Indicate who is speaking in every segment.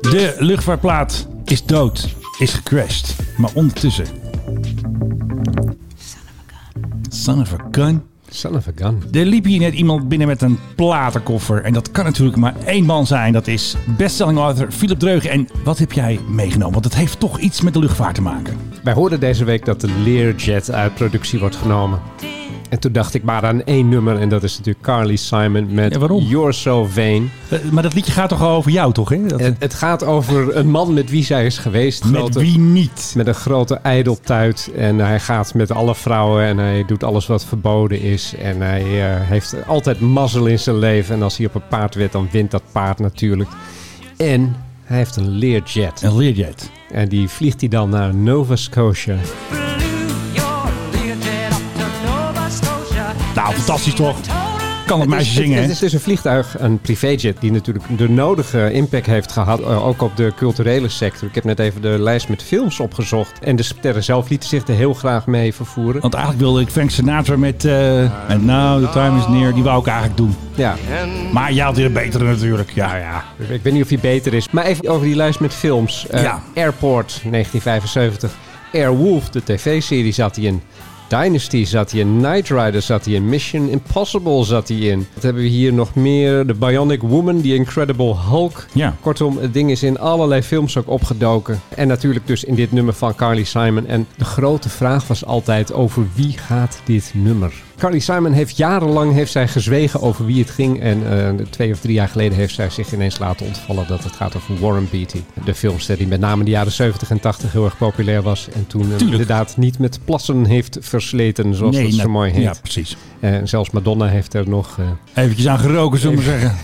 Speaker 1: De luchtvaartplaat is dood, is gecrashed. Maar ondertussen. Son of a gun.
Speaker 2: Son of a gun.
Speaker 1: Er liep hier net iemand binnen met een platenkoffer. En dat kan natuurlijk maar één man zijn. Dat is bestselling author Philip Dreugen. En wat heb jij meegenomen? Want het heeft toch iets met de luchtvaart te maken.
Speaker 2: Wij hoorden deze week dat de Learjet uit productie wordt genomen. En toen dacht ik maar aan één nummer. En dat is natuurlijk Carly Simon met
Speaker 1: Ja, waarom?
Speaker 2: You're So Vain.
Speaker 1: Eh, Maar dat liedje gaat toch al over jou, toch? Hè? Dat-
Speaker 2: Het, het gaat over een man met wie zij is geweest.
Speaker 1: Eh, met
Speaker 2: Grote-
Speaker 1: wie niet?
Speaker 2: Met een grote ijdeltuit. En hij gaat met alle vrouwen en hij doet alles wat verboden is. En hij eh, heeft altijd mazzel in zijn leven. En als hij op een paard wint, dan wint dat paard natuurlijk. En hij heeft een leerjet.
Speaker 1: Een leerjet.
Speaker 2: En die vliegt hij dan naar Nova Scotia.
Speaker 1: Nou, fantastisch toch? Kan het meisje
Speaker 2: Het-
Speaker 1: zingen,
Speaker 2: Het
Speaker 1: hè?
Speaker 2: is dus een vliegtuig, een privéjet, die natuurlijk de nodige impact heeft gehad. eh, Ook op de culturele sector. Ik heb net even de lijst met films opgezocht. En de sterren zelf lieten zich er heel graag mee vervoeren.
Speaker 1: Want eigenlijk wilde ik Frank Sinatra met... eh and now the time is near. Die wou ik eigenlijk doen.
Speaker 2: Ja,
Speaker 1: Maar jij had weer een betere natuurlijk. Ja, ja.
Speaker 2: Ik weet niet of die beter is. Maar even over die lijst met films. Eh,
Speaker 1: Ja.
Speaker 2: Airport 1975. Airwolf, de tv-serie, zat hij in. Dynasty zat hij in. Knight Rider zat hij in. Mission Impossible zat hij in. Wat hebben we hier nog meer? The Bionic Woman, The Incredible Hulk.
Speaker 1: Ja.
Speaker 2: Kortom, het ding is in allerlei films ook opgedoken. En natuurlijk dus in dit nummer van Carly Simon. En de grote vraag was altijd over wie gaat dit nummer? Carly Simon heeft jarenlang heeft zij gezwegen over wie het ging. En eh, twee of drie jaar geleden heeft zij zich ineens laten ontvallen dat het gaat over Warren Beatty. De filmster die met name in de jaren 70 en 80 heel erg populair was. En toen eh,
Speaker 1: Tuurlijk.
Speaker 2: inderdaad niet met plassen heeft versleten, zoals dat
Speaker 1: nou-
Speaker 2: zo mooi heet.
Speaker 1: Ja, precies.
Speaker 2: En zelfs Madonna heeft er nog... eh,
Speaker 1: Eventjes aan geroken, zullen we maar zeggen.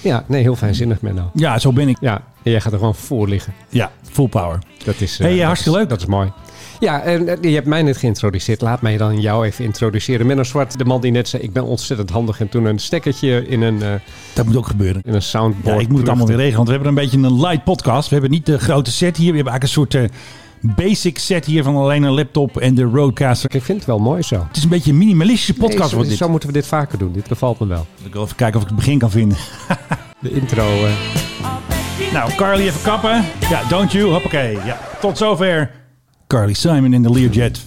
Speaker 2: ja, nee, heel fijnzinnig, Menno.
Speaker 1: Ja, zo ben ik.
Speaker 2: Ja, en jij gaat er gewoon voor liggen.
Speaker 1: Ja, full power.
Speaker 2: Dat is,
Speaker 1: Hey,
Speaker 2: eh,
Speaker 1: ja,
Speaker 2: dat
Speaker 1: hartstikke
Speaker 2: is-
Speaker 1: leuk.
Speaker 2: Dat is mooi. Ja, en eh, je hebt mij net geïntroduceerd. Laat mij dan jou even introduceren. Menno Zwart, de man die net zei, ik ben ontzettend handig. En toen een stekkertje in een, eh,
Speaker 1: Dat moet ook gebeuren.
Speaker 2: in een
Speaker 1: Ja,
Speaker 2: soundboard.
Speaker 1: ik moet het allemaal weer regelen, want we hebben een beetje een light podcast. We hebben niet de grote set hier. We hebben eigenlijk een soort eh, basic set hier van alleen een laptop en de Rodecaster.
Speaker 2: Ik vind het wel mooi zo.
Speaker 1: Het is een beetje een minimalistische podcast
Speaker 2: Nee, zo,
Speaker 1: wordt dit.
Speaker 2: zo moeten we dit vaker doen. Dit bevalt me wel.
Speaker 1: Ik wil even kijken of ik het begin kan vinden.
Speaker 2: De intro. eh,
Speaker 1: Nou, Carly even kappen. Ja, don't you? Hoppakee. Ja, tot zover. Carly Simon in de Learjet.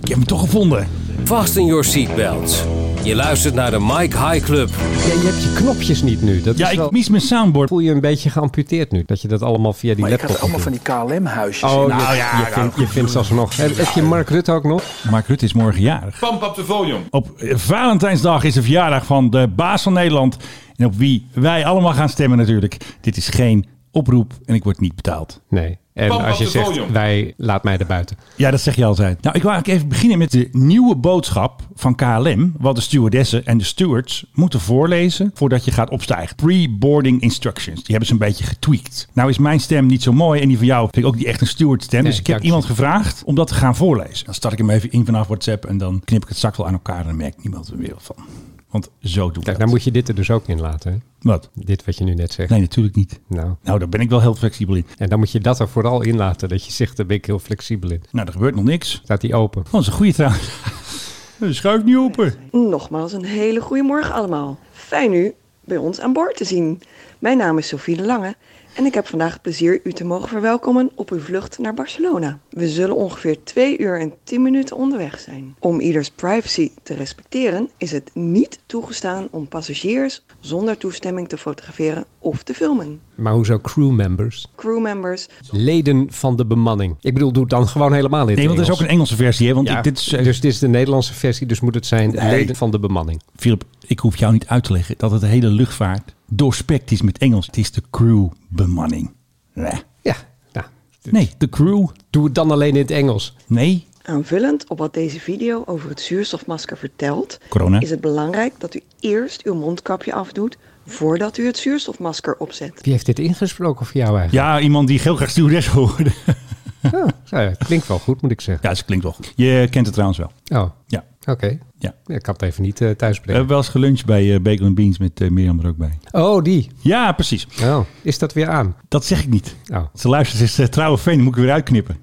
Speaker 1: Ik heb hem toch gevonden.
Speaker 3: Fasten your seatbelts. Je luistert naar de Mike High Club.
Speaker 2: ja, je hebt je knopjes niet nu. Dat
Speaker 1: Ja,
Speaker 2: is
Speaker 1: ik
Speaker 2: wel,
Speaker 1: mis mijn soundboard.
Speaker 2: voel je een beetje geamputeerd nu. Dat je dat allemaal via die
Speaker 4: Maar ik
Speaker 2: laptop
Speaker 4: had
Speaker 5: er
Speaker 4: allemaal
Speaker 2: moet
Speaker 4: van
Speaker 2: doen.
Speaker 4: die KLM-huisjes.
Speaker 2: Oh,
Speaker 1: Nou
Speaker 2: je,
Speaker 1: ja,
Speaker 2: je,
Speaker 1: nou,
Speaker 2: vindt, je vindt zelfs nog. Heb, heb je Mark Rutte ook nog?
Speaker 1: Mark Rutte is morgen jarig. Pump up the volume. Op eh, Valentijnsdag is de verjaardag van de baas van Nederland. En op wie wij allemaal gaan stemmen natuurlijk. Dit is geen oproep en ik word niet betaald.
Speaker 2: Nee. En als je zegt, wij, laat mij erbuiten.
Speaker 1: Ja, dat zeg je altijd. Nou, ik wil eigenlijk even beginnen met de nieuwe boodschap van KLM. Wat de stewardessen en de stewards moeten voorlezen voordat je gaat opstijgen. Pre-boarding instructions. Die hebben ze een beetje getweakt. Nou is mijn stem niet zo mooi en die van jou vind ik ook niet echt een steward stem. dus ik heb
Speaker 2: dank je.
Speaker 1: iemand gevraagd om dat te gaan voorlezen. Dan start ik hem even in vanaf WhatsApp en dan knip ik het straks wel aan elkaar en dan merkt niemand er weer van. Want zo doe ik
Speaker 2: Kijk,
Speaker 1: dat.
Speaker 2: dan moet je dit er dus ook in laten. hè?
Speaker 1: Wat?
Speaker 2: Dit wat je nu net zegt.
Speaker 1: Nee, natuurlijk niet.
Speaker 2: Nou,
Speaker 1: Nou, daar ben ik wel heel flexibel in.
Speaker 2: en dan moet je dat er vooral in laten. Dat je zegt, daar ben ik heel flexibel in.
Speaker 1: Nou, er gebeurt nog niks.
Speaker 2: Staat die open.
Speaker 1: Oh, dat is een goede trouwens. Schuif niet open.
Speaker 6: Nogmaals een hele goede morgen allemaal. Fijn u bij ons aan boord te zien. Mijn naam is Sophie de Lange en ik heb vandaag het plezier u te mogen verwelkomen op uw vlucht naar Barcelona. We zullen ongeveer 2 uur en 10 minuten onderweg zijn. Om ieders privacy te respecteren is het niet toegestaan om passagiers zonder toestemming te fotograferen of te filmen.
Speaker 2: Maar hoezo crewmembers?
Speaker 6: Crewmembers
Speaker 2: Leden van de bemanning. Ik bedoel, doe het dan gewoon helemaal in het
Speaker 1: Nee, want er is ook
Speaker 2: Engels.
Speaker 1: een Engelse versie, hè? Want
Speaker 2: Ja,
Speaker 1: ik- dit is, eh,
Speaker 2: dus dit is de Nederlandse versie, dus moet het zijn
Speaker 1: Nee.
Speaker 2: leden van de bemanning.
Speaker 1: Philip, ik hoef jou niet uit te leggen dat het de hele luchtvaart doorspekt is met Engels. Het is de crewbemanning. Nee.
Speaker 2: Ja, nou, dit-
Speaker 1: nee, de crew.
Speaker 2: doe het dan alleen in het Engels.
Speaker 1: Nee.
Speaker 6: Aanvullend op wat deze video over het zuurstofmasker vertelt,
Speaker 1: Corona.
Speaker 6: is het belangrijk dat u eerst uw mondkapje afdoet voordat u het zuurstofmasker opzet.
Speaker 2: Wie heeft dit ingesproken voor jou eigenlijk?
Speaker 1: Ja, iemand die heel graag stewardess hoorde.
Speaker 2: Ja, het klinkt wel goed, moet ik zeggen.
Speaker 1: Ja, dat klinkt wel goed. Je kent het trouwens wel.
Speaker 2: Oh,
Speaker 1: Ja.
Speaker 2: oké.
Speaker 1: ja.
Speaker 2: Ja, Ik kan het even niet eh thuis
Speaker 1: We
Speaker 2: brengen.
Speaker 1: hebben wel eens geluncht bij eh, Bacon and Beans met eh, Mirjam er ook bij.
Speaker 2: oh, die.
Speaker 1: Ja, precies.
Speaker 2: Oh, is dat weer aan?
Speaker 1: Dat zeg ik niet.
Speaker 2: Oh.
Speaker 1: Ze luistert, ze is eh, trouwe fan, die moet ik weer uitknippen.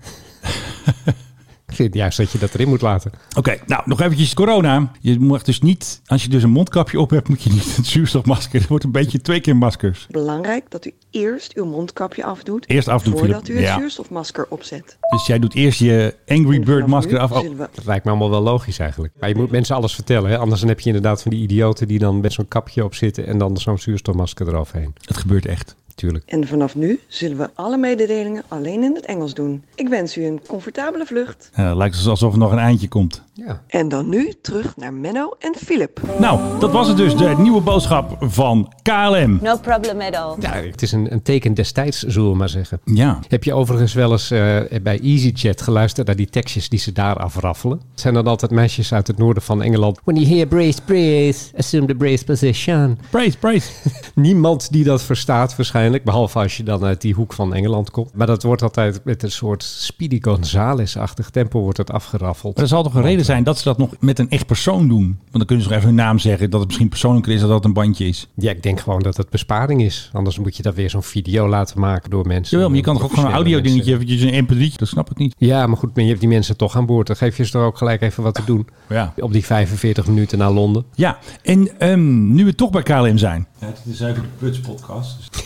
Speaker 2: Ik vind juist dat je dat erin moet laten.
Speaker 1: Oké, nou nog eventjes corona. Je mag dus niet, als je dus een mondkapje op hebt, moet je niet het zuurstofmasker. Het wordt een beetje twee keer maskers.
Speaker 6: Belangrijk dat u eerst uw mondkapje afdoet.
Speaker 1: Eerst afdoen,
Speaker 6: Voordat u
Speaker 1: Philip.
Speaker 6: het
Speaker 1: Ja.
Speaker 6: zuurstofmasker opzet.
Speaker 1: Dus jij doet eerst je Angry
Speaker 6: En
Speaker 1: Bird
Speaker 6: vanaf
Speaker 1: masker
Speaker 6: nu
Speaker 1: af. Oh,
Speaker 6: zullen we
Speaker 2: Dat lijkt me allemaal wel logisch eigenlijk. Maar je moet mensen alles vertellen. Hè? Anders dan heb je inderdaad van die idioten die dan met zo'n kapje op zitten en dan zo'n zuurstofmasker eroverheen.
Speaker 1: het gebeurt echt.
Speaker 2: Tuurlijk.
Speaker 6: En vanaf nu zullen we alle mededelingen alleen in het Engels doen. Ik wens u een comfortabele vlucht.
Speaker 1: Eh, lijkt het alsof er nog een eindje komt.
Speaker 2: Ja.
Speaker 6: En dan nu terug naar Menno en Philip.
Speaker 1: Nou, dat was het dus. De nieuwe boodschap van KLM.
Speaker 4: No problem at all.
Speaker 2: ja, het is een, een teken destijds, zullen we maar zeggen.
Speaker 1: Ja.
Speaker 2: Heb je overigens wel eens eh, bij EasyJet geluisterd naar die tekstjes die ze daar afraffelen? Het zijn dan altijd meisjes uit het noorden van Engeland. When you hear brace, brace, assume the brace position.
Speaker 1: Praise, praise.
Speaker 2: Niemand die dat verstaat waarschijnlijk, behalve als je dan uit die hoek van Engeland komt. Maar dat wordt altijd met een soort Speedy Gonzales-achtig tempo wordt het afgeraffeld.
Speaker 1: Maar er zal toch een reden zijn dat ze dat nog met een echt persoon doen. Want dan kunnen ze nog even hun naam zeggen. Dat het misschien persoonlijker is dan dat het een bandje is.
Speaker 2: Ja, ik denk gewoon dat het besparing is. Anders moet je dat weer zo'n video laten maken door mensen.
Speaker 1: Jawel, maar je kan toch ook gewoon een audio dingetje, eventjes een mp3'tje. Dat snap ik niet.
Speaker 2: Ja, maar goed, maar je hebt die mensen toch aan boord. Dan geef je ze toch ook gelijk even wat te doen.
Speaker 1: Ja.
Speaker 2: Op die 45 minuten naar Londen.
Speaker 1: Ja, en ehm, nu we toch bij KLM zijn. Ja, het is even de Puts podcast. dus-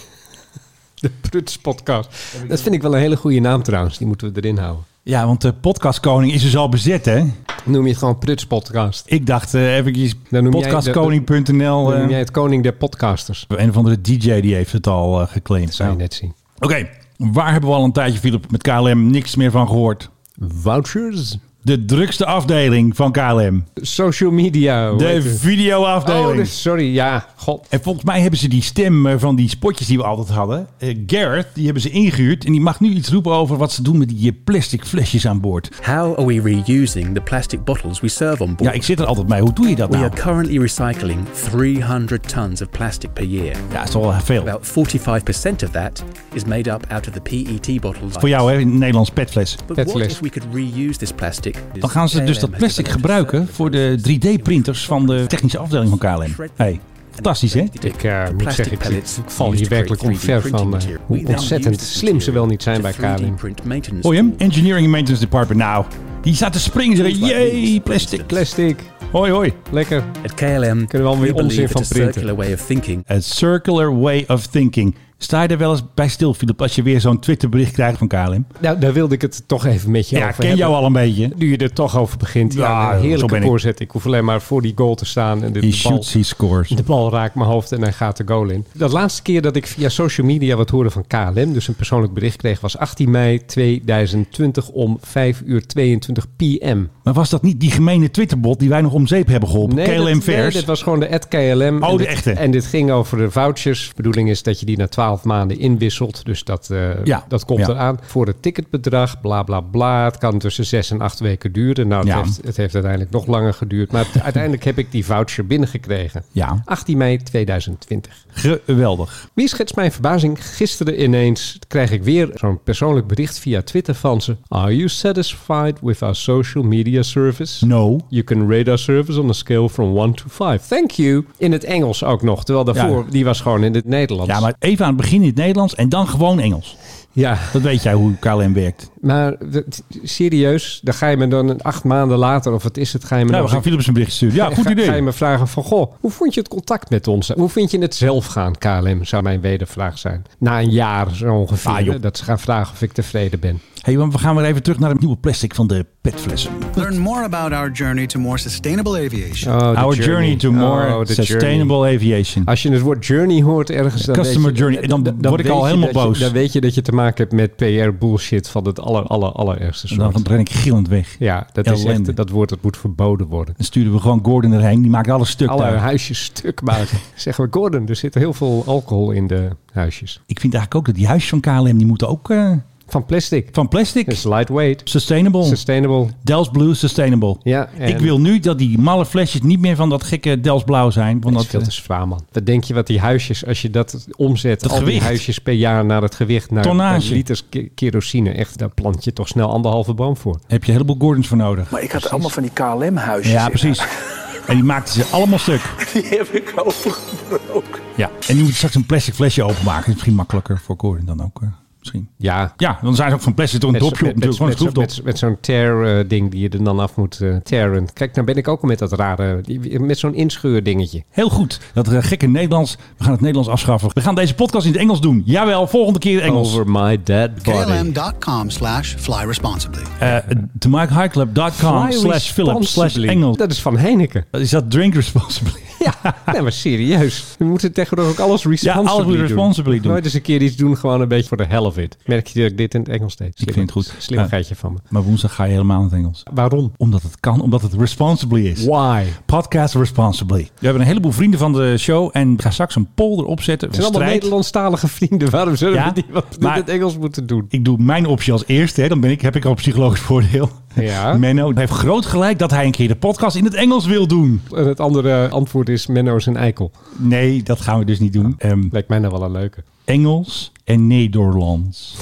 Speaker 2: De Pruts podcast. Dat vind ik wel een hele goede naam trouwens. Die moeten we erin houden.
Speaker 1: Ja, want de podcastkoning is dus al bezet, hè?
Speaker 2: Noem je het gewoon Pruts podcast.
Speaker 1: Ik dacht eh eventjes
Speaker 2: Dan noem jij-
Speaker 1: podcastkoning.nl.
Speaker 2: Dan noem jij
Speaker 1: eh,
Speaker 2: het koning der podcasters.
Speaker 1: een of andere DJ die heeft het al eh, geclaimd.
Speaker 2: Dat zou je
Speaker 1: Ja.
Speaker 2: net zien.
Speaker 1: Oké, waar hebben we al een tijdje, Philip, met KLM niks meer van gehoord?
Speaker 2: Vouchers?
Speaker 1: De drukste afdeling van KLM.
Speaker 2: Social media. hoe
Speaker 1: De
Speaker 2: heet het?
Speaker 1: videoafdeling.
Speaker 2: Oh, de- sorry. Ja, god.
Speaker 1: En volgens mij hebben ze die stem eh, van die spotjes die we altijd hadden. eh, Garrett, die hebben ze ingehuurd. En die mag nu iets roepen over wat ze doen met die eh, plastic flesjes aan boord.
Speaker 7: How are we reusing the plastic bottles we serve on board?
Speaker 1: Ja, ik zit er altijd mee. Hoe doe je dat
Speaker 7: we
Speaker 1: nou?
Speaker 7: are currently recycling 300 tons of plastic per year.
Speaker 1: Ja, dat is wel veel.
Speaker 7: About 45% of that is made up out of the PET bottles.
Speaker 1: Voor jou, hè, in het Nederlands petfles.
Speaker 7: But
Speaker 2: That's
Speaker 7: what
Speaker 2: less.
Speaker 7: if we could reuse this plastic?
Speaker 1: Dan gaan ze dus dat plastic gebruiken voor de 3D-printers van de technische afdeling van KLM. Hey, fantastisch, hè?
Speaker 2: Ik eh, moet zeggen, ik, ik val hier werkelijk onver van eh, hoe ontzettend slim ze wel niet zijn bij KLM.
Speaker 1: Hoor je hem? Engineering and Maintenance Department. Nou, die staat te springen. Zeggen, Jee, plastic.
Speaker 2: Plastic,
Speaker 1: Hoi, hoi.
Speaker 2: lekker.
Speaker 7: At KLM
Speaker 2: Kunnen we alweer
Speaker 7: we
Speaker 2: onzin
Speaker 7: believe
Speaker 2: van
Speaker 7: that a
Speaker 2: printen.
Speaker 7: circular way of thinking
Speaker 1: A circular way of thinking. Sta je er wel eens bij stil, Philip, als je weer zo'n Twitterbericht krijgt van KLM?
Speaker 2: Nou, daar wilde ik het toch even met je
Speaker 1: Ja,
Speaker 2: over
Speaker 1: ken
Speaker 2: hebben.
Speaker 1: jou al een beetje.
Speaker 2: Nu je er toch over begint. Ja,
Speaker 1: Ja,
Speaker 2: een
Speaker 1: zo ben
Speaker 2: heerlijke
Speaker 1: ik.
Speaker 2: voorzet. Ik. hoef alleen maar voor die goal te staan. En de,
Speaker 1: He
Speaker 2: de bal,
Speaker 1: shoots, he scores.
Speaker 2: de bal raakt mijn hoofd en hij gaat de goal in. De laatste keer dat ik via social media wat hoorde van KLM, dus een persoonlijk bericht kreeg, was 18 mei 2020 om 5 uur 22 pm.
Speaker 1: Maar was dat niet die gemene Twitterbot die wij nog om zeep hebben geholpen?
Speaker 2: dat-
Speaker 1: KLM Vers.
Speaker 2: dit was gewoon de ad KLM.
Speaker 1: Oh,
Speaker 2: en
Speaker 1: de
Speaker 2: dit,
Speaker 1: echte.
Speaker 2: En dit ging over de vouchers. De bedoeling is dat je die na 12 maanden inwisselt. Dus dat, eh,
Speaker 1: Ja,
Speaker 2: dat komt
Speaker 1: ja.
Speaker 2: eraan. Voor het ticketbedrag, bla bla bla. Het kan tussen 6 en 8 weken duren. Nou, het,
Speaker 1: Ja.
Speaker 2: heeft, het heeft uiteindelijk nog langer geduurd. Maar het- uiteindelijk heb ik die voucher binnengekregen.
Speaker 1: Ja,
Speaker 2: 18 mei 2020.
Speaker 1: geweldig.
Speaker 2: Wie schetst mijn verbazing? Gisteren ineens krijg ik weer zo'n persoonlijk bericht via Twitter van ze. Are you satisfied with our social media service?
Speaker 1: No.
Speaker 2: You can rate our service on a scale from 1 to 5. Thank you. In het Engels ook nog. Terwijl daarvoor,
Speaker 1: Ja.
Speaker 2: die was gewoon in het Nederlands.
Speaker 1: Ja, maar even aan het begin in het Nederlands en dan gewoon Engels.
Speaker 2: Ja,
Speaker 1: Dat weet jij hoe KLM werkt.
Speaker 2: maar d- serieus, dan ga je me dan acht maanden later, of wat is het, ga je me
Speaker 1: Nou,
Speaker 2: nog
Speaker 1: we gaan
Speaker 2: eens-
Speaker 1: Philips een bericht sturen. Ja, goed
Speaker 2: ga, Ga je
Speaker 1: idee.
Speaker 2: me vragen van, goh, hoe vond je het contact met ons? Hoe vind je het zelf gaan, KLM, zou mijn wedervraag zijn. Na een jaar zo ongeveer,
Speaker 1: Ah, joh.
Speaker 2: hè, dat ze gaan vragen of ik tevreden ben.
Speaker 1: hey, want we gaan weer even terug naar het nieuwe plastic van de petflessen.
Speaker 8: Learn more about our journey to more sustainable aviation.
Speaker 2: Oh, the
Speaker 1: Our journey to
Speaker 2: Oh,
Speaker 1: more
Speaker 2: the journey.
Speaker 1: sustainable aviation.
Speaker 2: Als je het woord journey hoort ergens... Dan
Speaker 1: Customer
Speaker 2: weet je-
Speaker 1: journey. Dan word ik
Speaker 2: weet
Speaker 1: al
Speaker 2: je
Speaker 1: helemaal
Speaker 2: dat je-
Speaker 1: boos.
Speaker 2: dan weet je dat je te maken hebt met PR-bullshit van het aller, aller, allerergste
Speaker 1: En dan
Speaker 2: soort.
Speaker 1: ren ik gillend weg.
Speaker 2: Ja, dat, is
Speaker 1: Ellende.
Speaker 2: echt, dat woord dat moet verboden worden.
Speaker 1: Dan sturen we gewoon Gordon erheen. Die maakt alles stuk
Speaker 2: Alle
Speaker 1: daar.
Speaker 2: huisjes stuk maken. Zeggen we, Gordon, er zit heel veel alcohol in de huisjes.
Speaker 1: Ik vind eigenlijk ook dat die huisjes van KLM... die moeten ook eh,
Speaker 2: Van plastic.
Speaker 1: van plastic.
Speaker 2: Dat is lightweight.
Speaker 1: Sustainable.
Speaker 2: Sustainable.
Speaker 1: Dels Blue Sustainable.
Speaker 2: Ja, en-
Speaker 1: Ik wil nu dat die malle flesjes niet meer van dat gekke Dels Blauw zijn. Want
Speaker 2: Dat is
Speaker 1: dat, eh,
Speaker 2: veel te zwaar, man. Wat denk je wat die huisjes, als je dat omzet,
Speaker 1: Dat
Speaker 2: al die
Speaker 1: gewicht.
Speaker 2: huisjes per jaar naar het gewicht, naar, naar
Speaker 1: Tonnage.
Speaker 2: liters ke- kerosine, echt, daar plant je toch snel anderhalve boom voor.
Speaker 1: eh, heb je een heleboel Gordons voor nodig.
Speaker 5: Maar ik had er allemaal van die KLM-huisjes.
Speaker 1: Ja,
Speaker 5: in.
Speaker 1: precies. En die maakten ze allemaal stuk.
Speaker 5: Die heb ik overgebroken.
Speaker 1: Ja. En nu moet je straks een plastic flesje openmaken. Dat is misschien makkelijker voor Gordon dan ook. eh. misschien.
Speaker 2: Ja.
Speaker 1: Ja, dan zijn ze ook van plastic door een
Speaker 2: Met-
Speaker 1: dopje op
Speaker 2: met- met-
Speaker 1: natuurlijk. Gewoon een
Speaker 2: met-
Speaker 1: schroefdop.
Speaker 2: Met, met zo'n tear-ding die je er dan af moet eh tearen. Kijk, nou ben ik ook al met dat rare... die- Met zo'n inscheurdingetje.
Speaker 1: Heel goed. Dat eh, gekke Nederlands. We gaan het Nederlands afschaffen. We gaan deze podcast in het Engels doen. Jawel, volgende keer Engels.
Speaker 2: Over my dead body.
Speaker 8: KLM.com slash fly responsibly.
Speaker 1: Eh, to MikeHighClub.com
Speaker 2: Fly
Speaker 1: slash Philip slash
Speaker 2: responsibly.
Speaker 1: Engels.
Speaker 2: Dat is van Heineken.
Speaker 1: Is dat drink responsibly?
Speaker 2: Ja, nee, maar serieus. We moeten tegenwoordig ook alles responsibly
Speaker 1: alles moet
Speaker 2: doen.
Speaker 1: responsibly doen.
Speaker 2: Nooit eens een keer iets doen, gewoon een beetje voor de hell of it. Merk je dat ik dit in het Engels deed?
Speaker 1: Ik vind het goed.
Speaker 2: Slimmigheidje van me.
Speaker 1: Maar woensdag ga je helemaal in het Engels.
Speaker 2: Waarom?
Speaker 1: Omdat het kan, omdat het responsibly is.
Speaker 2: Why?
Speaker 1: Podcast responsibly. We hebben een heleboel vrienden van de show en ga straks een polder opzetten.
Speaker 2: Het zijn
Speaker 1: een
Speaker 2: allemaal
Speaker 1: strijd.
Speaker 2: Nederlandstalige vrienden. Waarom zullen
Speaker 1: Ja,
Speaker 2: we die wat
Speaker 1: maar-
Speaker 2: in het Engels moeten doen?
Speaker 1: Ik doe mijn optie als eerste. Hè. Dan ben ik, heb ik al een psychologisch voordeel.
Speaker 2: Ja.
Speaker 1: Menno heeft groot gelijk dat hij een keer de podcast in het Engels wil doen.
Speaker 2: En het andere antwoord is Menno is een eikel.
Speaker 1: Nee, dat gaan we dus niet doen. Ehm,
Speaker 2: Lijkt mij nou wel een leuke.
Speaker 1: Engels en Nederlands.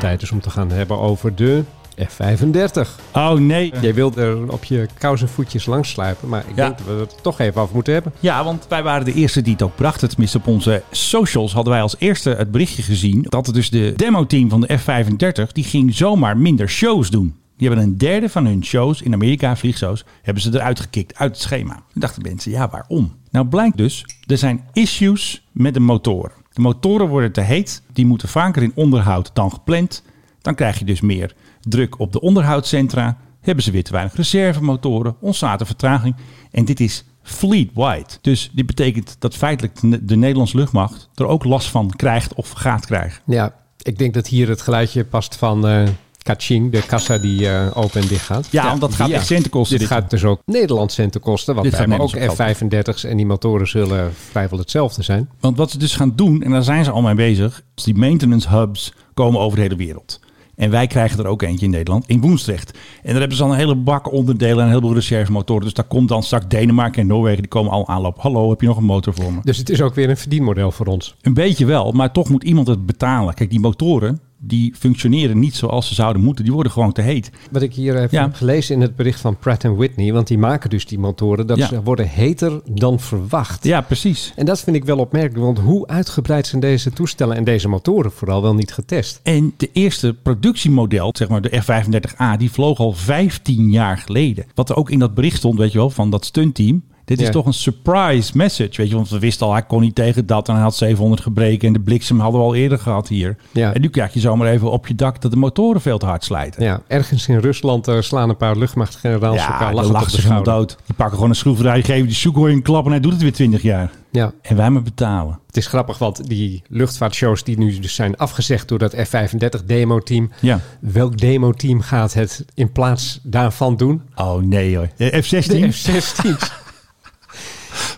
Speaker 2: Tijd is om te gaan hebben over de F-35.
Speaker 1: Oh nee.
Speaker 2: Jij wilt er op je kousenvoetjes langs sluipen, maar ik
Speaker 1: Ja.
Speaker 2: denk dat we het toch even af moeten hebben.
Speaker 1: Ja, want wij waren de eerste die het ook brachten. Tenminste, op onze socials hadden wij als eerste het berichtje gezien... dat het dus de demo-team van de F-35... die ging zomaar minder shows doen. Die hebben een derde van hun shows in Amerika, vliegshows... hebben ze eruit gekikt, uit het schema. Toen dachten mensen, ja, waarom? Nou, blijkt dus, er zijn issues met de motoren. De motoren worden te heet, die moeten vaker in onderhoud dan gepland. Dan krijg je dus meer druk op de onderhoudscentra. Hebben ze weer te weinig reservemotoren, ontstaat er vertraging. En dit is fleet-wide. Dus dit betekent dat feitelijk de- de Nederlandse luchtmacht er ook last van krijgt of gaat krijgen.
Speaker 2: Ja, ik denk dat hier het geluidje past van eh Kaching, de kassa die eh, open en dicht gaat.
Speaker 1: Ja, want dat gaat echt centen kosten,
Speaker 2: Dit,
Speaker 1: dit.
Speaker 2: gaat dus ook Nederland centen kosten, want
Speaker 1: Dit
Speaker 2: wij
Speaker 1: gaat
Speaker 2: hebben ook
Speaker 1: Nederlands
Speaker 2: F-35's en die motoren zullen vrijwel hetzelfde zijn.
Speaker 1: Want wat ze dus gaan doen, en daar zijn ze al mee bezig, is die maintenance hubs komen over de hele wereld. En wij krijgen er ook eentje in Nederland, in Woensdrecht. En daar hebben ze al een hele bak onderdelen en een heleboel reservemotoren. Dus daar komt dan straks Denemarken en Noorwegen, die komen al aanlopen. Hallo, heb je nog een motor voor me?
Speaker 2: Dus het is ook weer een verdienmodel voor ons.
Speaker 1: Een beetje wel, maar toch moet iemand het betalen. Kijk, die motoren, die functioneren niet zoals ze zouden moeten. Die worden gewoon te heet.
Speaker 2: Wat ik hier heb
Speaker 1: Ja.
Speaker 2: gelezen in het bericht van Pratt Whitney, want die maken dus die motoren, dat
Speaker 1: Ja.
Speaker 2: ze worden heter dan verwacht.
Speaker 1: Ja, precies.
Speaker 2: En dat vind ik wel opmerkelijk, want hoe uitgebreid zijn deze toestellen en deze motoren vooral wel niet getest?
Speaker 1: En de eerste productiemodel, zeg maar de F-35A, die vloog al 15 jaar geleden. Wat er ook in dat bericht stond, weet je wel, van dat stuntteam. Dit is
Speaker 2: Ja.
Speaker 1: toch een surprise message, weet je. Want we wisten al, hij kon niet tegen dat en hij had 700 gebreken. En de bliksem hadden we al eerder gehad hier.
Speaker 2: Ja.
Speaker 1: En nu krijg je zomaar even op je dak dat de motoren veel te hard slijten.
Speaker 2: Ja, ergens in Rusland eh, slaan een paar luchtmachtgeneraals elkaar
Speaker 1: dan
Speaker 2: lachen op
Speaker 1: lachen
Speaker 2: de
Speaker 1: ze gewoon
Speaker 2: schouder.
Speaker 1: dood. Die pakken gewoon een schroevendraaier, geven die Sukhoi een klap en hij doet het weer 20 jaar.
Speaker 2: Ja,
Speaker 1: En wij maar betalen.
Speaker 2: het is grappig, want die luchtvaartshows die nu dus zijn afgezegd door dat F-35 demo-team.
Speaker 1: Ja.
Speaker 2: Welk demo-team gaat het in plaats daarvan doen?
Speaker 1: Oh nee hoor. De F-16,
Speaker 2: De F-16's.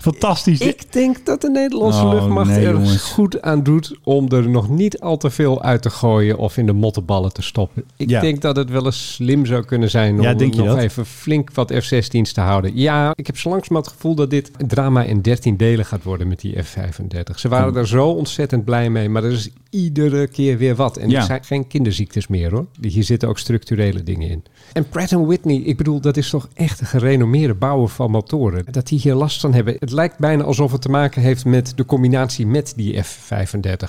Speaker 1: fantastisch.
Speaker 2: Ik denk dat de Nederlandse
Speaker 1: Oh,
Speaker 2: luchtmacht
Speaker 1: nee,
Speaker 2: er
Speaker 1: jongens.
Speaker 2: goed aan doet om er nog niet al te veel uit te gooien of in de mottenballen te stoppen. Ik
Speaker 1: Ja.
Speaker 2: denk dat het wel eens slim zou kunnen zijn om
Speaker 1: Ja, denk je
Speaker 2: nog
Speaker 1: dat?
Speaker 2: even flink wat F-16's te houden. Ja, ik heb zo langzamerhand het gevoel dat dit een drama in 13 delen gaat worden met die F-35. Ze waren
Speaker 1: Oh.
Speaker 2: er zo ontzettend blij mee, maar er is iedere keer weer wat. En
Speaker 1: Ja.
Speaker 2: er zijn geen kinderziektes meer hoor. Hier zitten ook structurele dingen in. En Pratt Whitney, ik bedoel, dat is toch echt een gerenommeerde bouwer van motoren. Dat die hier last van hebben. Het lijkt bijna alsof het te maken heeft met de combinatie met die F-35.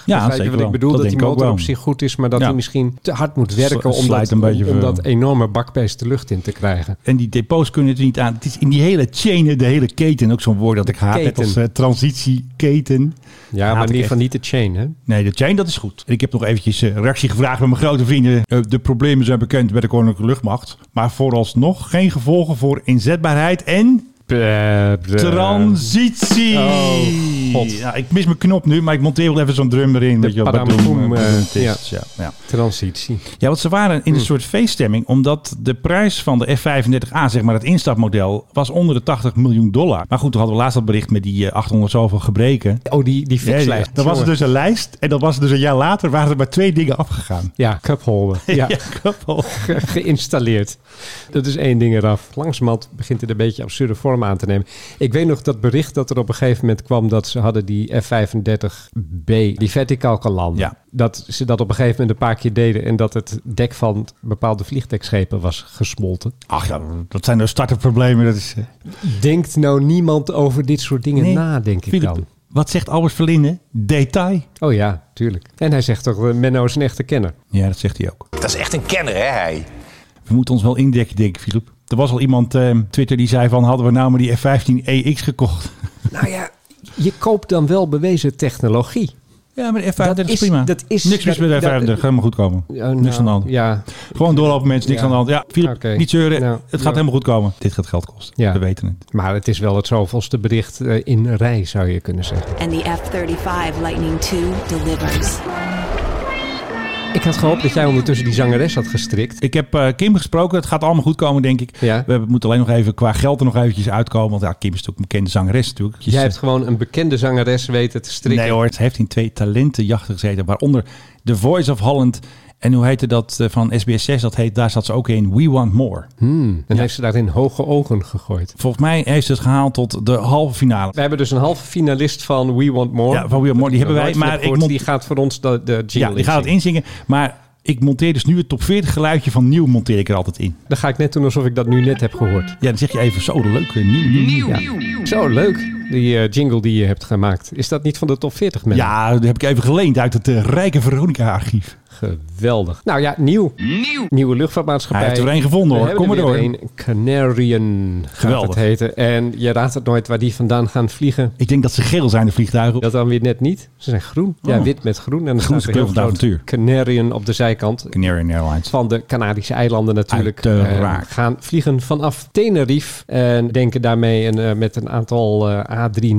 Speaker 2: Begrijp je
Speaker 1: zeker
Speaker 2: wat
Speaker 1: wel.
Speaker 2: ik bedoel?
Speaker 1: Dat
Speaker 2: Dat, die
Speaker 1: denk ik ook
Speaker 2: motor
Speaker 1: wel.
Speaker 2: op zich goed is, maar dat
Speaker 1: Ja.
Speaker 2: hij misschien te hard moet
Speaker 1: Sl-
Speaker 2: werken om
Speaker 1: slijt
Speaker 2: dat,
Speaker 1: een beetje
Speaker 2: om, om
Speaker 1: veel.
Speaker 2: dat enorme bakbeest de lucht in te krijgen.
Speaker 1: En die depots kunnen het er niet aan. Het is in die hele chain, de hele keten, ook zo'n woord dat ik haat. Net
Speaker 2: keten.
Speaker 1: als eh, transitieketen.
Speaker 2: Ja,
Speaker 1: Haat
Speaker 2: maar
Speaker 1: ik
Speaker 2: in ieder
Speaker 1: echt.
Speaker 2: geval niet de chain, hè?
Speaker 1: Nee, de chain, dat is goed. En ik heb nog eventjes eh, reactie gevraagd bij mijn grote vrienden. Eh, de problemen zijn bekend bij de Koninklijke Luchtmacht. Maar vooralsnog geen gevolgen voor inzetbaarheid en eh, transitie.
Speaker 2: Oh, god.
Speaker 1: Ja, ik mis mijn knop nu, maar ik monteer wel even zo'n drum erin. weet je wel,
Speaker 2: padam-
Speaker 1: badoem,
Speaker 2: boem,
Speaker 1: eh,
Speaker 2: eh,
Speaker 1: het is, ja, ja.
Speaker 2: Transitie.
Speaker 1: Ja, want ze waren in een soort feeststemming, omdat de prijs van de F-35A, zeg maar het instapmodel, was onder de 80 miljoen dollar. Maar goed, toen hadden we laatst dat bericht met die eh, 800 zoveel gebreken.
Speaker 2: Oh, die, die
Speaker 1: Ja, ja.
Speaker 2: fixlijst.
Speaker 1: Dan was er dus een lijst en dan was er dus een jaar later waren er maar twee dingen afgegaan.
Speaker 2: Ja, cupholder.
Speaker 1: Ja,
Speaker 2: Ja.
Speaker 1: koppel.
Speaker 2: ge- geïnstalleerd. Dat is één ding eraf. Langzamerhand begint het een beetje absurde vorm aan te nemen. Ik weet nog dat bericht dat er op een gegeven moment kwam... dat ze hadden die F-35B, die verticaal kan landen.
Speaker 1: Ja.
Speaker 2: Dat ze dat op een gegeven moment een paar keer deden... en dat het dek van bepaalde vliegdekschepen was gesmolten.
Speaker 1: Ach ja, dat zijn nou starterproblemen. Dat is, eh,
Speaker 2: Denkt nou niemand over dit soort dingen
Speaker 1: Nee.
Speaker 2: na, denk ik
Speaker 1: Philip,
Speaker 2: dan.
Speaker 1: Wat zegt Albert Verlinde? Detail.
Speaker 2: Oh ja, tuurlijk. En hij zegt toch, eh, Menno is een echte kenner.
Speaker 1: Ja, dat zegt hij ook.
Speaker 4: Dat is echt een kenner, hè, hij.
Speaker 1: We moeten ons wel indekken, denk ik, Filip. Er was al iemand eh, op Twitter die zei van... hadden we nou maar die F15EX gekocht.
Speaker 2: Nou ja, je koopt dan wel bewezen technologie.
Speaker 1: Ja, maar de F35
Speaker 2: Dat is-
Speaker 1: is prima.
Speaker 2: dat is-
Speaker 1: niks mis met de F35,
Speaker 2: dat- dat-
Speaker 1: helemaal goed komen.
Speaker 2: Ja, nou,
Speaker 1: niks aan de hand.
Speaker 2: Ja,
Speaker 1: Gewoon doorlopen mensen, niks
Speaker 2: Ja.
Speaker 1: aan de hand. Ja, Filip,
Speaker 2: Oké.
Speaker 1: niet zeuren.
Speaker 2: Nou,
Speaker 1: het gaat
Speaker 2: ja.
Speaker 1: helemaal goed komen. Dit gaat geld kosten.
Speaker 2: Ja.
Speaker 1: We weten het.
Speaker 2: maar het is wel het zoveelste bericht eh, in een rij, zou je kunnen zeggen.
Speaker 9: And the F 35 Lightning II delivers.
Speaker 2: Ik had gehoopt dat jij ondertussen die zangeres had gestrikt.
Speaker 1: Ik heb eh, Kim gesproken. Het gaat allemaal goed komen, denk ik.
Speaker 2: Ja.
Speaker 1: We hebben- moeten alleen nog even qua geld er nog eventjes uitkomen. Want ja, Kim is natuurlijk een bekende zangeres natuurlijk.
Speaker 2: Jij hebt gewoon een bekende zangeres weten te strikken.
Speaker 1: Nee hoor, ze heeft in twee talentenjachten gezeten. Waaronder The Voice of Holland. En hoe heette dat eh, van SBS6? Dat heet, daar zat ze ook in. We Want More.
Speaker 2: Hmm, en heeft ze daarin hoge ogen gegooid.
Speaker 1: Volgens mij heeft ze het gehaald tot de halve finale.
Speaker 2: We hebben dus een halve finalist van We Want More.
Speaker 1: Ja, van We Want More, die
Speaker 2: Ik
Speaker 1: hebben
Speaker 2: heb
Speaker 1: wij,
Speaker 2: nooit van
Speaker 1: maar
Speaker 2: gehoord.
Speaker 1: ik moet-
Speaker 2: Die gaat voor ons de, de jingle
Speaker 1: Ja, die gaat het inzingen. Maar ik monteer dus nu het top 40 geluidje van nieuw monteer ik er altijd in.
Speaker 2: Dan ga ik net doen alsof ik dat nu net heb gehoord.
Speaker 1: Ja, dan zeg je even zo, de leuke nieuw, nieuw, nieuw. Ja.
Speaker 2: Zo, leuk. Die eh, jingle die je hebt gemaakt. Is dat niet van de top 40, mensen?
Speaker 1: Ja, dat heb ik even geleend uit het eh, Rijke Veronica-archief.
Speaker 2: Geweldig. Nou ja, nieuw. Nieuwe luchtvaartmaatschappij.
Speaker 1: Hij heeft er een gevonden,
Speaker 2: We
Speaker 1: hoor.
Speaker 2: hebben
Speaker 1: Kom
Speaker 2: er
Speaker 1: maar
Speaker 2: weer
Speaker 1: door.
Speaker 2: een. Canarian gaat
Speaker 1: Geweldig.
Speaker 2: het heten. En je raadt het nooit waar die vandaan gaan vliegen.
Speaker 1: Ik denk dat ze geel zijn, de vliegtuigen.
Speaker 2: Dat dan weer net niet. Ze zijn groen. Ja,
Speaker 1: Oh.
Speaker 2: wit met groen. En dan
Speaker 1: Groen is
Speaker 2: staat
Speaker 1: de
Speaker 2: er
Speaker 1: kleur van het
Speaker 2: groot
Speaker 1: avontuur.
Speaker 2: Canarian op de zijkant.
Speaker 1: Canarian Airlines.
Speaker 2: Van de Canarische eilanden natuurlijk.
Speaker 1: Uiteraard.
Speaker 2: eh, gaan vliegen vanaf Tenerife. En denken daarmee een, eh, met een aantal eh,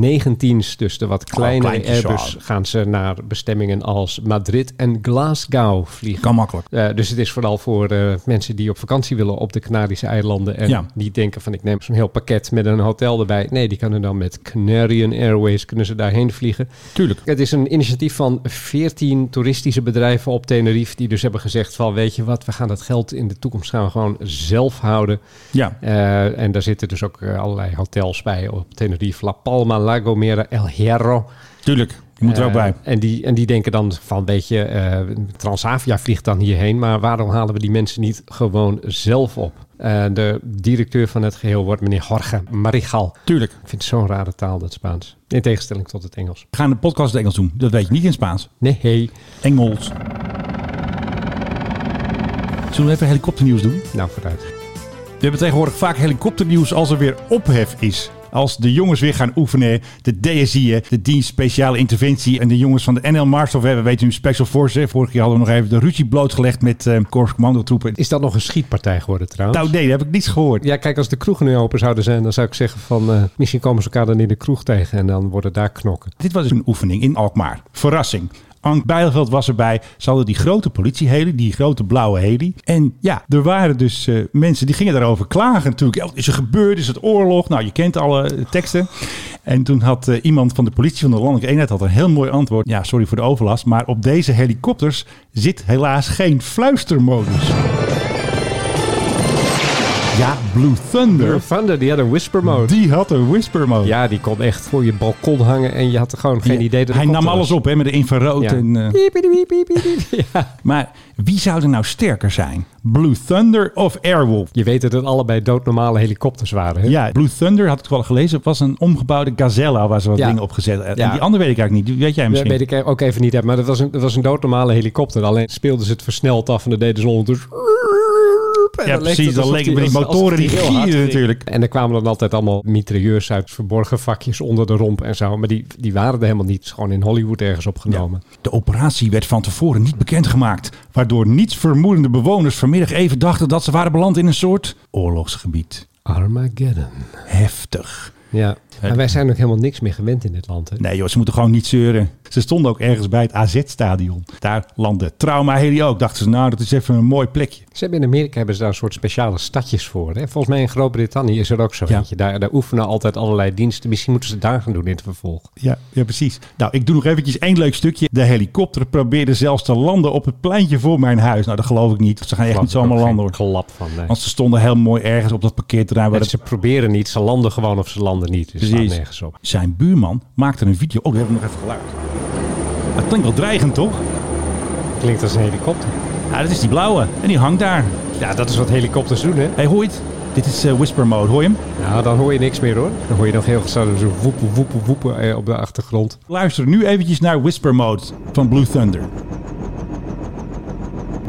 Speaker 2: A319's. Dus de wat kleinere
Speaker 1: Oh, kleintjes,
Speaker 2: Airbus
Speaker 1: ja.
Speaker 2: gaan ze naar bestemmingen als Madrid en Glasgow vliegen.
Speaker 1: Kan makkelijk.
Speaker 2: Eh, dus het is vooral voor eh, mensen die op vakantie willen op de Canarische eilanden. En
Speaker 1: Ja.
Speaker 2: die denken van ik neem zo'n heel pakket met een hotel erbij. Nee, die kunnen dan met Canarian Airways kunnen ze daarheen vliegen.
Speaker 1: Tuurlijk.
Speaker 2: Het is een initiatief van 14 toeristische bedrijven op Tenerife. Die dus hebben gezegd van weet je wat, we gaan dat geld in de toekomst gaan we gewoon zelf houden.
Speaker 1: Ja.
Speaker 2: Eh, en daar zitten dus ook eh, allerlei hotels bij op Tenerife. La Palma, La Gomera, El Hierro.
Speaker 1: Tuurlijk. Je moet er ook
Speaker 2: Eh,
Speaker 1: bij.
Speaker 2: En die, en die denken dan van, weet je, eh, Transavia vliegt dan hierheen, maar waarom halen we die mensen niet gewoon zelf op? Eh, de directeur van het geheel wordt meneer Jorge Marigal.
Speaker 1: Tuurlijk.
Speaker 2: Ik vind het zo'n rare taal, dat Spaans. In tegenstelling tot het Engels.
Speaker 1: We gaan de podcast in het Engels doen. Dat weet je niet in Spaans.
Speaker 2: Nee, hey.
Speaker 1: Engels. Zullen we even helikopternieuws doen?
Speaker 2: nou vooruit.
Speaker 1: We hebben tegenwoordig vaak helikopternieuws als er weer ophef is. Als de jongens weer gaan oefenen, de DSI'en, de dienst speciale interventie en de jongens van de NL Marshal, we weten nu Special Forces. hè. Vorige keer hadden we nog even de ruzie blootgelegd met eh Korps Commandotroepen.
Speaker 2: Is dat nog een schietpartij geworden trouwens?
Speaker 1: Nou nee, daar heb ik niets gehoord.
Speaker 2: Ja, kijk, als de kroegen nu open zouden zijn, dan zou ik zeggen van... eh, misschien komen ze elkaar dan in de kroeg tegen en dan worden daar knokken.
Speaker 1: Dit was dus een oefening in Alkmaar. Verrassing. Ank Bijleveld was erbij. Ze hadden die grote politieheli, die grote blauwe heli. En ja, er waren dus eh, mensen die gingen daarover klagen natuurlijk. Ja, Wat is er gebeurd? Is het oorlog? Nou, je kent alle eh, teksten. En toen had eh, iemand van de politie van de landelijke eenheid had een heel mooi antwoord. Ja, sorry voor de overlast, maar op deze helikopters zit helaas geen fluistermodus. Ja, Blue Thunder,
Speaker 2: Thunder, die had een whisper mode.
Speaker 1: die had een whisper mode.
Speaker 2: Ja, die kon echt voor je balkon hangen en je had er gewoon geen
Speaker 1: Die-
Speaker 2: idee dat
Speaker 1: Hij
Speaker 2: het
Speaker 1: nam
Speaker 2: was.
Speaker 1: alles op hè, met de infrarood
Speaker 2: Ja.
Speaker 1: en... eh,
Speaker 2: Piep, piep, piep, piep, piep. Ja.
Speaker 1: Maar wie zou er nou sterker zijn? Blue Thunder of Airwolf?
Speaker 2: Je weet dat het allebei doodnormale helikopters waren. Hè?
Speaker 1: Ja, Blue Thunder, had ik wel gelezen, was een omgebouwde Gazella waar ze wat
Speaker 2: Ja.
Speaker 1: dingen op gezet En
Speaker 2: Ja.
Speaker 1: die andere weet ik eigenlijk niet. Die weet jij
Speaker 2: Dat
Speaker 1: misschien?
Speaker 2: weet ik ook even niet uit, maar dat was een, dat was een doodnormale helikopter. Alleen speelden ze het versneld af en dat deden ze ondertussen... En
Speaker 1: Ja,
Speaker 2: dan leek
Speaker 1: precies,
Speaker 2: het
Speaker 1: dan
Speaker 2: alsof
Speaker 1: leek het met die
Speaker 2: alsof- alsof
Speaker 1: motoren die
Speaker 2: heel hard
Speaker 1: gieren
Speaker 2: ging.
Speaker 1: natuurlijk.
Speaker 2: En er kwamen dan altijd allemaal mitrailleurs uit verborgen vakjes onder de romp en zo. Maar die, die waren er helemaal niet. Het is gewoon in Hollywood ergens opgenomen.
Speaker 1: De operatie werd van tevoren niet bekendgemaakt, waardoor nietsvermoedende bewoners vanmiddag even dachten dat ze waren beland in een soort oorlogsgebied.
Speaker 2: Armageddon.
Speaker 1: Heftig.
Speaker 2: Ja, maar wij zijn ook helemaal niks meer gewend in dit land. Hè?
Speaker 1: Nee joh, ze moeten gewoon niet zeuren. Ze stonden ook ergens bij het AZ-stadion. Daar landde Trauma Heli ook. Dachten ze, nou dat is even een mooi plekje.
Speaker 2: Ze hebben in Amerika hebben ze daar een soort speciale stadjes voor. Hè? Volgens mij in Groot-Brittannië is er ook zo.
Speaker 1: Ja.
Speaker 2: eentje. Daar, daar oefenen altijd allerlei diensten. Misschien moeten ze het daar gaan doen in het vervolg.
Speaker 1: Ja, ja, precies. Nou, ik doe nog eventjes één leuk stukje. De helikopter probeerde zelfs te landen op het pleintje voor mijn huis. Nou, dat geloof ik niet. Ze gaan echt niet
Speaker 2: Geloof
Speaker 1: zomaar
Speaker 2: ik ook
Speaker 1: landen
Speaker 2: geen
Speaker 1: hoor.
Speaker 2: klap van. nee.
Speaker 1: Want ze stonden heel mooi ergens op dat parkeerterrein. Waar
Speaker 2: En
Speaker 1: het...
Speaker 2: ze proberen niet, ze landen gewoon of ze landen niet. Dus het slaat
Speaker 1: Precies.
Speaker 2: nergens op.
Speaker 1: Zijn buurman maakte een video. Oh, daar hebben we nog even geluid. Dat klinkt wel dreigend, toch?
Speaker 2: Klinkt als een helikopter.
Speaker 1: Ja, dat is die blauwe. En die hangt daar.
Speaker 2: Ja, dat is wat helikopters doen, hè?
Speaker 1: Hé, hey, hoort. Dit is eh, whisper mode, hoor je hem?
Speaker 2: Nou, dan hoor je niks meer hoor. Dan hoor je nog heel gezellig zo woepen, woepen, woepen eh, op de achtergrond.
Speaker 1: Luister nu eventjes naar whisper mode van Blue Thunder.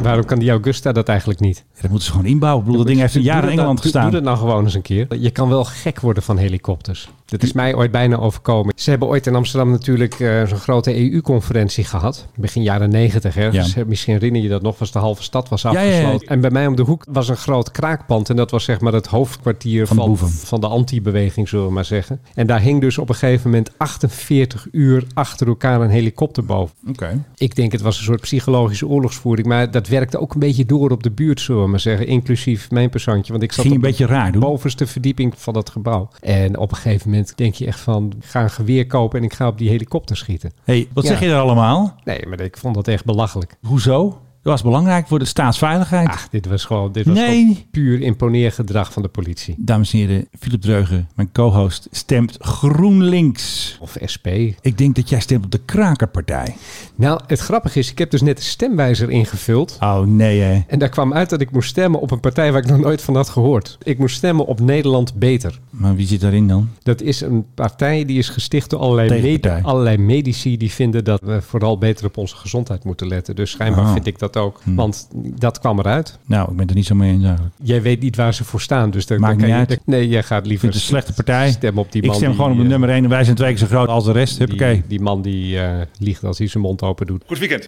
Speaker 2: Waarom kan die Augusta dat eigenlijk niet?
Speaker 1: Ja, dat moeten ze gewoon inbouwen. Ik bedoel, dat ding heeft een
Speaker 2: Doe
Speaker 1: jaar in
Speaker 2: dat nou-
Speaker 1: Engeland
Speaker 2: doe-
Speaker 1: gestaan.
Speaker 2: Doe dat nou gewoon eens een keer. Je kan wel gek worden van helikopters. Dat is mij ooit bijna overkomen. Ze hebben ooit in Amsterdam natuurlijk eh, zo'n grote EU-conferentie gehad. Begin jaren negentig. ergens.
Speaker 1: Ja.
Speaker 2: Misschien herinner je dat nog, was de halve stad was
Speaker 1: ja, ja.
Speaker 2: afgesloten. En bij mij om de hoek was een groot kraakpand. En dat was zeg maar het hoofdkwartier
Speaker 1: Van
Speaker 2: van,
Speaker 1: de
Speaker 2: van,
Speaker 1: boeven.
Speaker 2: de anti-beweging, zullen we maar zeggen. En daar hing dus op een gegeven moment 48 uur achter elkaar een helikopter boven.
Speaker 1: Oké.
Speaker 2: Ik denk het was een soort psychologische oorlogsvoering. Maar dat werkte ook een beetje door op de buurt, zullen we maar zeggen. Inclusief mijn persoontje. Want ik zat
Speaker 1: Ging een
Speaker 2: op de
Speaker 1: beetje raar doen.
Speaker 2: bovenste verdieping van dat gebouw. En op een gegeven moment denk je echt van... ik ga een geweer kopen en ik ga op die helikopter schieten.
Speaker 1: hey, wat
Speaker 2: Ja.
Speaker 1: zeg je er allemaal?
Speaker 2: Nee, maar ik vond dat echt belachelijk.
Speaker 1: Hoezo? Dat was belangrijk voor de staatsveiligheid.
Speaker 2: Ach, dit was gewoon, dit was
Speaker 1: Nee.
Speaker 2: gewoon puur imponeergedrag van de politie.
Speaker 1: Dames en heren, Philip Dreugen, mijn co-host, stemt GroenLinks.
Speaker 2: Of SP.
Speaker 1: Ik denk dat jij stemt op de krakerpartij.
Speaker 2: Nou, het grappige is, ik heb dus net de stemwijzer ingevuld.
Speaker 1: Oh nee, hè.
Speaker 2: En daar kwam uit dat ik moest stemmen op een partij waar ik nog nooit van had gehoord. Ik moest stemmen op Nederland Beter.
Speaker 1: Maar wie zit daarin dan?
Speaker 2: Dat is een partij die is gesticht door allerlei,
Speaker 1: Tegenpartij.
Speaker 2: med- allerlei medici die vinden dat we vooral beter op onze gezondheid moeten letten. Dus schijnbaar
Speaker 1: Ah.
Speaker 2: vind ik dat ook. Want dat kwam eruit.
Speaker 1: Nou, ik ben er niet zo mee eens eigenlijk.
Speaker 2: Jij weet niet waar ze voor staan. Dus daar
Speaker 1: Maakt
Speaker 2: daar kan
Speaker 1: niet
Speaker 2: je-
Speaker 1: uit.
Speaker 2: nee, jij gaat
Speaker 1: Ik
Speaker 2: liever
Speaker 1: vind het een slechte partij.
Speaker 2: stem op die
Speaker 1: ik
Speaker 2: man.
Speaker 1: stem
Speaker 2: die,
Speaker 1: gewoon op de
Speaker 2: eh,
Speaker 1: nummer 1 en wij zijn twee keer zo groot als de rest. Huppakee.
Speaker 2: Die, die man die eh, liegt als hij zijn mond open doet.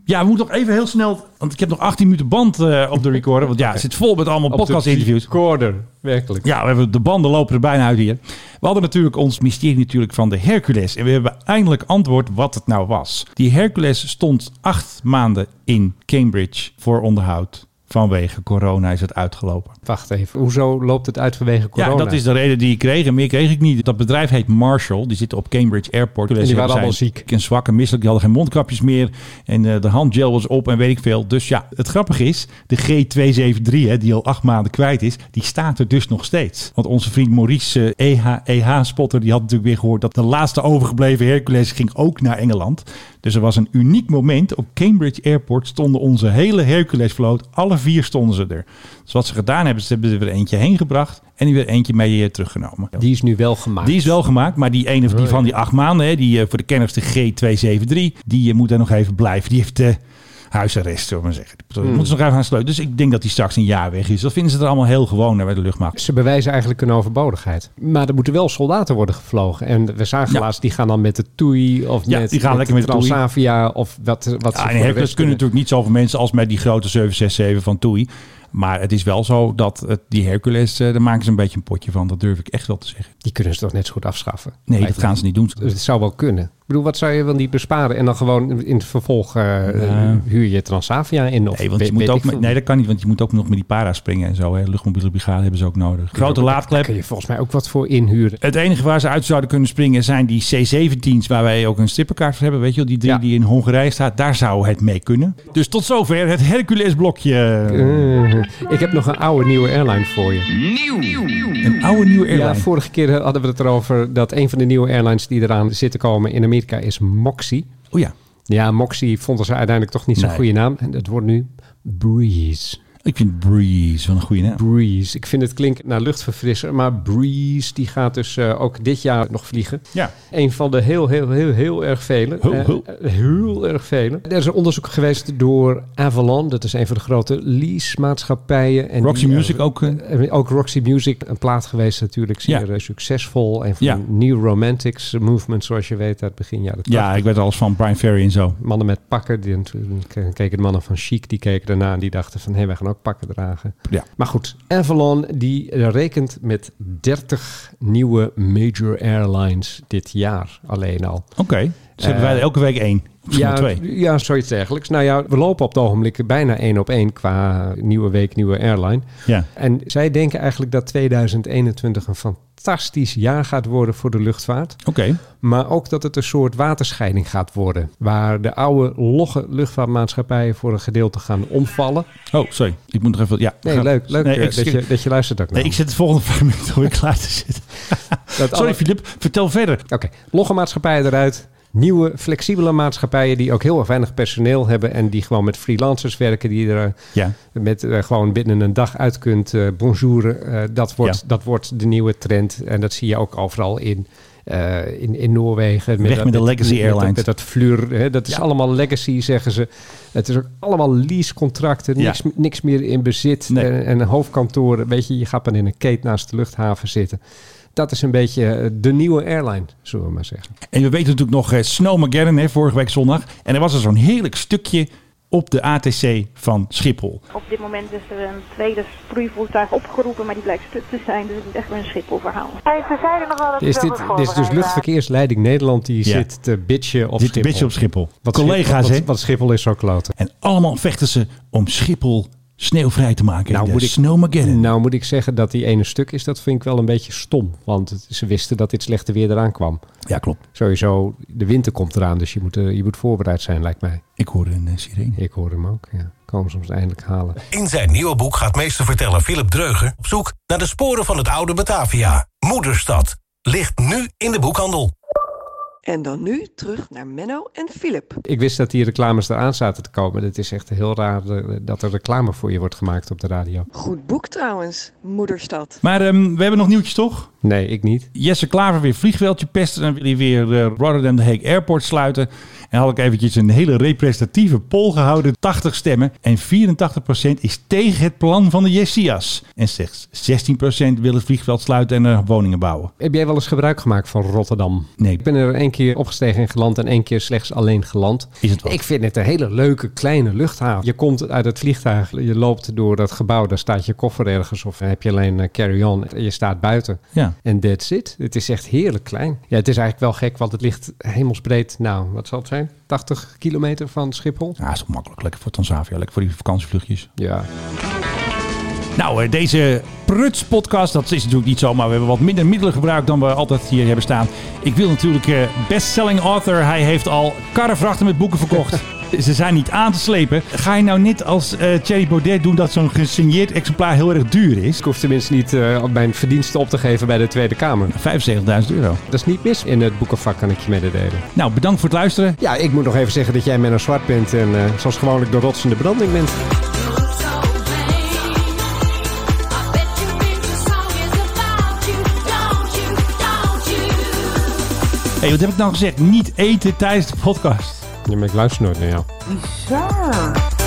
Speaker 1: Ja, we moeten nog even heel snel, want ik heb nog 18 minuten band eh, op de recorder. Want ja, het zit vol met allemaal
Speaker 2: Op de
Speaker 1: podcast-interviews.
Speaker 2: Recorder, werkelijk.
Speaker 1: Ja, we hebben, de banden lopen er bijna uit hier. We hadden natuurlijk ons mysterie natuurlijk van de Hercules. En we hebben eindelijk antwoord wat het nou was. Die Hercules stond acht maanden in Cambridge voor onderhoud. Vanwege corona is het uitgelopen.
Speaker 2: Wacht even, hoezo loopt het uit vanwege corona?
Speaker 1: Ja, dat is de reden die ik kreeg. En meer kreeg ik niet. Dat bedrijf heet Marshall. Die zitten op Cambridge Airport. En
Speaker 2: waren allemaal ziek.
Speaker 1: En zwak en misselijk. Die hadden geen mondkapjes meer. En eh, de handgel was op en weet ik veel. Dus ja, het grappige is, de G273, hè, die al acht maanden kwijt is, die staat er dus nog steeds. Want onze vriend Maurice eh, EH, EH-spotter, die had natuurlijk weer gehoord dat de laatste overgebleven Hercules ging ook naar Engeland. Dus er was een uniek moment. Op Cambridge Airport stonden onze hele Hercules-vloot. Alle vier stonden ze er. Dus wat ze gedaan hebben, ze hebben er weer eentje heen gebracht en die weer eentje mee eh, teruggenomen.
Speaker 2: Die is nu wel gemaakt.
Speaker 1: Die is wel gemaakt, maar die ene
Speaker 2: Oh,
Speaker 1: die van die acht maanden, hè, die eh, voor de kenners de G273, die eh, moet daar nog even blijven. Die heeft eh, huisarrest, zullen we maar zeggen.
Speaker 2: Hmm.
Speaker 1: Die moeten ze nog even aan sleutelen. Dus ik denk dat die straks een jaar weg is. Dat vinden ze er allemaal heel gewoon hè, bij de luchtmacht.
Speaker 2: Ze bewijzen eigenlijk hun overbodigheid. Maar er moeten wel soldaten worden gevlogen. En we zagen
Speaker 1: Ja.
Speaker 2: laatst, die gaan dan met de TUI of
Speaker 1: Ja,
Speaker 2: met,
Speaker 1: die gaan
Speaker 2: met
Speaker 1: lekker met de TUI.
Speaker 2: Transavia of wat, wat ze
Speaker 1: Ja, en
Speaker 2: voor de
Speaker 1: Hercules
Speaker 2: rest
Speaker 1: kunnen
Speaker 2: kunnen.
Speaker 1: natuurlijk niet zoveel mensen als met die grote 767 van TUI. Maar het is wel zo dat het- die Hercules, eh, daar maken ze een beetje een potje van. Dat durf ik echt wel te zeggen.
Speaker 2: Die kunnen ze toch net zo goed afschaffen?
Speaker 1: Nee,
Speaker 2: Lijkt
Speaker 1: dat gaan
Speaker 2: me.
Speaker 1: ze niet doen.
Speaker 2: Dus het zou wel kunnen. Ik bedoel, wat zou je wel niet besparen? En dan gewoon in het vervolg eh, huur je Transavia in? Of
Speaker 1: Nee, want je
Speaker 2: weet-
Speaker 1: moet
Speaker 2: weet
Speaker 1: ook
Speaker 2: ik
Speaker 1: met,
Speaker 2: veel.
Speaker 1: nee, dat kan niet, want je moet ook nog met die para springen en zo. Hè. Luchtmobiele brigade hebben ze ook nodig. Grote laadklep.
Speaker 2: Kun je volgens mij ook wat voor inhuren.
Speaker 1: Het enige waar ze uit zouden kunnen springen zijn die C-17's, waar wij ook een stippenkaart voor hebben. Weet je wel, die drie
Speaker 2: Ja.
Speaker 1: die in Hongarije staat, daar zou het mee kunnen. Dus tot zover het Hercules-blokje.
Speaker 2: Eh, ik heb nog een oude nieuwe airline voor je.
Speaker 1: Een oude nieuwe airline.
Speaker 2: Eh. Ja, vorige keer hadden we het erover dat een van de nieuwe airlines die eraan zit te komen in Amerika is Moxie.
Speaker 1: Oh ja,
Speaker 2: Ja, Moxie vonden ze uiteindelijk toch niet zo'n
Speaker 1: Nee.
Speaker 2: goede naam. En het wordt nu Breeze.
Speaker 1: ik vind Breeze wel een goede naam.
Speaker 2: Breeze. Ik vind het klinkt naar luchtverfrisser, maar Breeze die gaat dus eh, ook dit jaar nog vliegen.
Speaker 1: Ja.
Speaker 2: Een van de heel, heel, heel, heel erg vele.
Speaker 1: Heel,
Speaker 2: Eh,
Speaker 1: heel.
Speaker 2: eh, heel erg vele. Er is een onderzoek geweest door Avalon. Dat is een van de grote lease-maatschappijen. En
Speaker 1: Roxy
Speaker 2: die, eh,
Speaker 1: Music ook. eh,
Speaker 2: En ook Roxy Music, een plaat geweest natuurlijk, zeer
Speaker 1: Ja.
Speaker 2: eh, succesvol. En van
Speaker 1: Ja.
Speaker 2: New Romantics Movement, zoals je weet, uit begin jaren 80.
Speaker 1: ja, ik weet alles van Brian Ferry en zo.
Speaker 2: Mannen met pakken, die, toen keken de mannen van Chic, die keken daarna en die dachten van, hé, wij gaan ook pakken dragen.
Speaker 1: Ja.
Speaker 2: Maar goed, Avalon, die rekent met 30 nieuwe major airlines dit jaar alleen al.
Speaker 1: Oké, dus hebben wij er elke week één. Of ja, twee.
Speaker 2: Eh. ja, zoiets dergelijks. Nou ja, we lopen op het ogenblik bijna één op één qua nieuwe week, nieuwe airline.
Speaker 1: Ja.
Speaker 2: En zij denken eigenlijk dat 2021 een fantastisch jaar gaat worden voor de luchtvaart.
Speaker 1: Oké,
Speaker 2: Maar ook dat het een soort waterscheiding gaat worden. Waar de oude, logge luchtvaartmaatschappijen voor een gedeelte gaan omvallen.
Speaker 1: oh sorry, ik moet nog even... Ja,
Speaker 2: Nee,
Speaker 1: Ga-
Speaker 2: leuk, leuk
Speaker 1: Nee,
Speaker 2: eh,
Speaker 1: ik-
Speaker 2: dat, je, dat je luistert ook naar.
Speaker 1: Nee, ik zit de volgende vijf minuten alweer klaar te zitten.
Speaker 2: Dat alle-
Speaker 1: Sorry Filip, vertel verder.
Speaker 2: Oké, logge maatschappijen eruit. nieuwe, flexibele maatschappijen die ook heel erg weinig personeel hebben en die gewoon met freelancers werken, die er eh,
Speaker 1: Ja.
Speaker 2: met eh, gewoon binnen een dag uit kunt eh bonjouren. Eh, dat, wordt,
Speaker 1: Ja.
Speaker 2: dat wordt de nieuwe trend en dat zie je ook overal in. eh, in, in Noorwegen.
Speaker 1: Weg
Speaker 2: dat-
Speaker 1: met de legacy
Speaker 2: dat-
Speaker 1: airlines.
Speaker 2: Met dat fleur. Hè, dat is
Speaker 1: Ja.
Speaker 2: allemaal legacy, zeggen ze. Het is ook allemaal leasecontracten.
Speaker 1: Ja.
Speaker 2: Niks, niks meer in bezit.
Speaker 1: Nee.
Speaker 2: En, en hoofdkantoren. Weet je, je gaat maar in een keet naast de luchthaven zitten. Dat is een beetje eh, de nieuwe airline, zullen we maar zeggen.
Speaker 1: En we weten natuurlijk nog eh, Snowmageddon, hè, vorige week zondag. En er was er zo'n heerlijk stukje op de ATC van Schiphol.
Speaker 4: Op dit moment is er een tweede sproeivoertuig opgeroepen, maar die blijkt stuk te zijn. Dus het is echt weer een Schiphol-verhaal.
Speaker 10: Ze zeiden nog wel dat
Speaker 2: Is dit, dit is dus luchtverkeersleiding Nederland die
Speaker 1: Ja.
Speaker 2: zit te bitchen op
Speaker 1: Dit
Speaker 2: Schiphol.
Speaker 1: beetje op Schiphol.
Speaker 2: Wat
Speaker 1: Collega's,
Speaker 2: Schiphol,
Speaker 1: hè?
Speaker 2: wat, wat Schiphol is zo kloten.
Speaker 1: En allemaal vechten ze om Schiphol sneeuwvrij te maken. Nou, de moet ik... Snowmageddon.
Speaker 2: Nou moet ik zeggen dat die ene stuk is, dat vind ik wel een beetje stom. Want het- ze wisten dat dit slechte weer eraan kwam.
Speaker 1: Ja, klopt.
Speaker 2: Sowieso, de winter komt eraan, dus je moet, eh, je moet voorbereid zijn, lijkt mij.
Speaker 1: Ik hoorde een eh, sirene.
Speaker 2: Ik hoor hem ook, ja. Komen ze ons eindelijk halen.
Speaker 11: In zijn nieuwe boek gaat meesterverteller Philip Dreuger op zoek naar de sporen van het oude Batavia. Moederstad ligt nu in de boekhandel.
Speaker 6: En dan nu terug naar Menno en Philip.
Speaker 2: Ik wist dat die reclames eraan zaten te komen. Het is echt heel raar eh, dat er reclame voor je wordt gemaakt op de radio.
Speaker 6: Goed boek trouwens, Moederstad.
Speaker 1: Maar ehm, we hebben nog nieuwtjes, toch?
Speaker 2: Nee, ik niet.
Speaker 1: Jesse Klaver weer vliegveldje pesten. En wil hij weer eh, Rotterdam de Hague Airport sluiten. En had ik eventjes een hele representatieve poll gehouden. 80 stemmen. En 84% is tegen het plan van de Jessias. En slechts 16% wil het vliegveld sluiten en er woningen bouwen.
Speaker 2: Heb jij wel eens gebruik gemaakt van Rotterdam?
Speaker 1: Nee.
Speaker 2: Ik ben er één keer opgestegen en geland en één keer slechts alleen geland.
Speaker 1: Is het wat?
Speaker 2: Ik vind het een hele leuke kleine luchthaven. Je komt uit het vliegtuig, je loopt door dat gebouw, daar staat je koffer ergens of heb je alleen eh, carry-on en je staat buiten.
Speaker 1: Ja.
Speaker 2: En that's it. Het is echt heerlijk klein. Ja, het is eigenlijk wel gek, want het ligt hemelsbreed, nou, wat zal het zijn? 80 kilometer van Schiphol?
Speaker 1: Ja, Ah, is toch makkelijk. Lekker voor Tanzania. Lekker voor die vakantievluchtjes.
Speaker 2: Ja.
Speaker 1: Nou, eh, deze prutspodcast, dat is natuurlijk niet zo, maar we hebben wat minder middelen gebruikt dan we altijd hier hebben staan. Ik wil natuurlijk eh, bestselling author. Hij heeft al karrevrachten met boeken verkocht. Ze zijn niet aan te slepen. Ga je nou niet als eh Thierry Baudet doen dat zo'n gesigneerd exemplaar heel erg duur is?
Speaker 2: Ik hoef tenminste niet eh, mijn verdiensten op te geven bij de Tweede Kamer.
Speaker 1: 75.000 euro.
Speaker 2: Dat is niet mis in het boekenvak, kan ik je mededelen.
Speaker 1: Nou, bedankt voor het luisteren.
Speaker 2: Ja, ik moet nog even zeggen dat jij Menno Zwart bent en eh, zoals gewoonlijk de rots in de branding bent.
Speaker 1: hey, wat heb ik nou gezegd? Niet eten tijdens de podcast.
Speaker 2: Ja, maar ik luister nooit naar jou.
Speaker 6: Ja.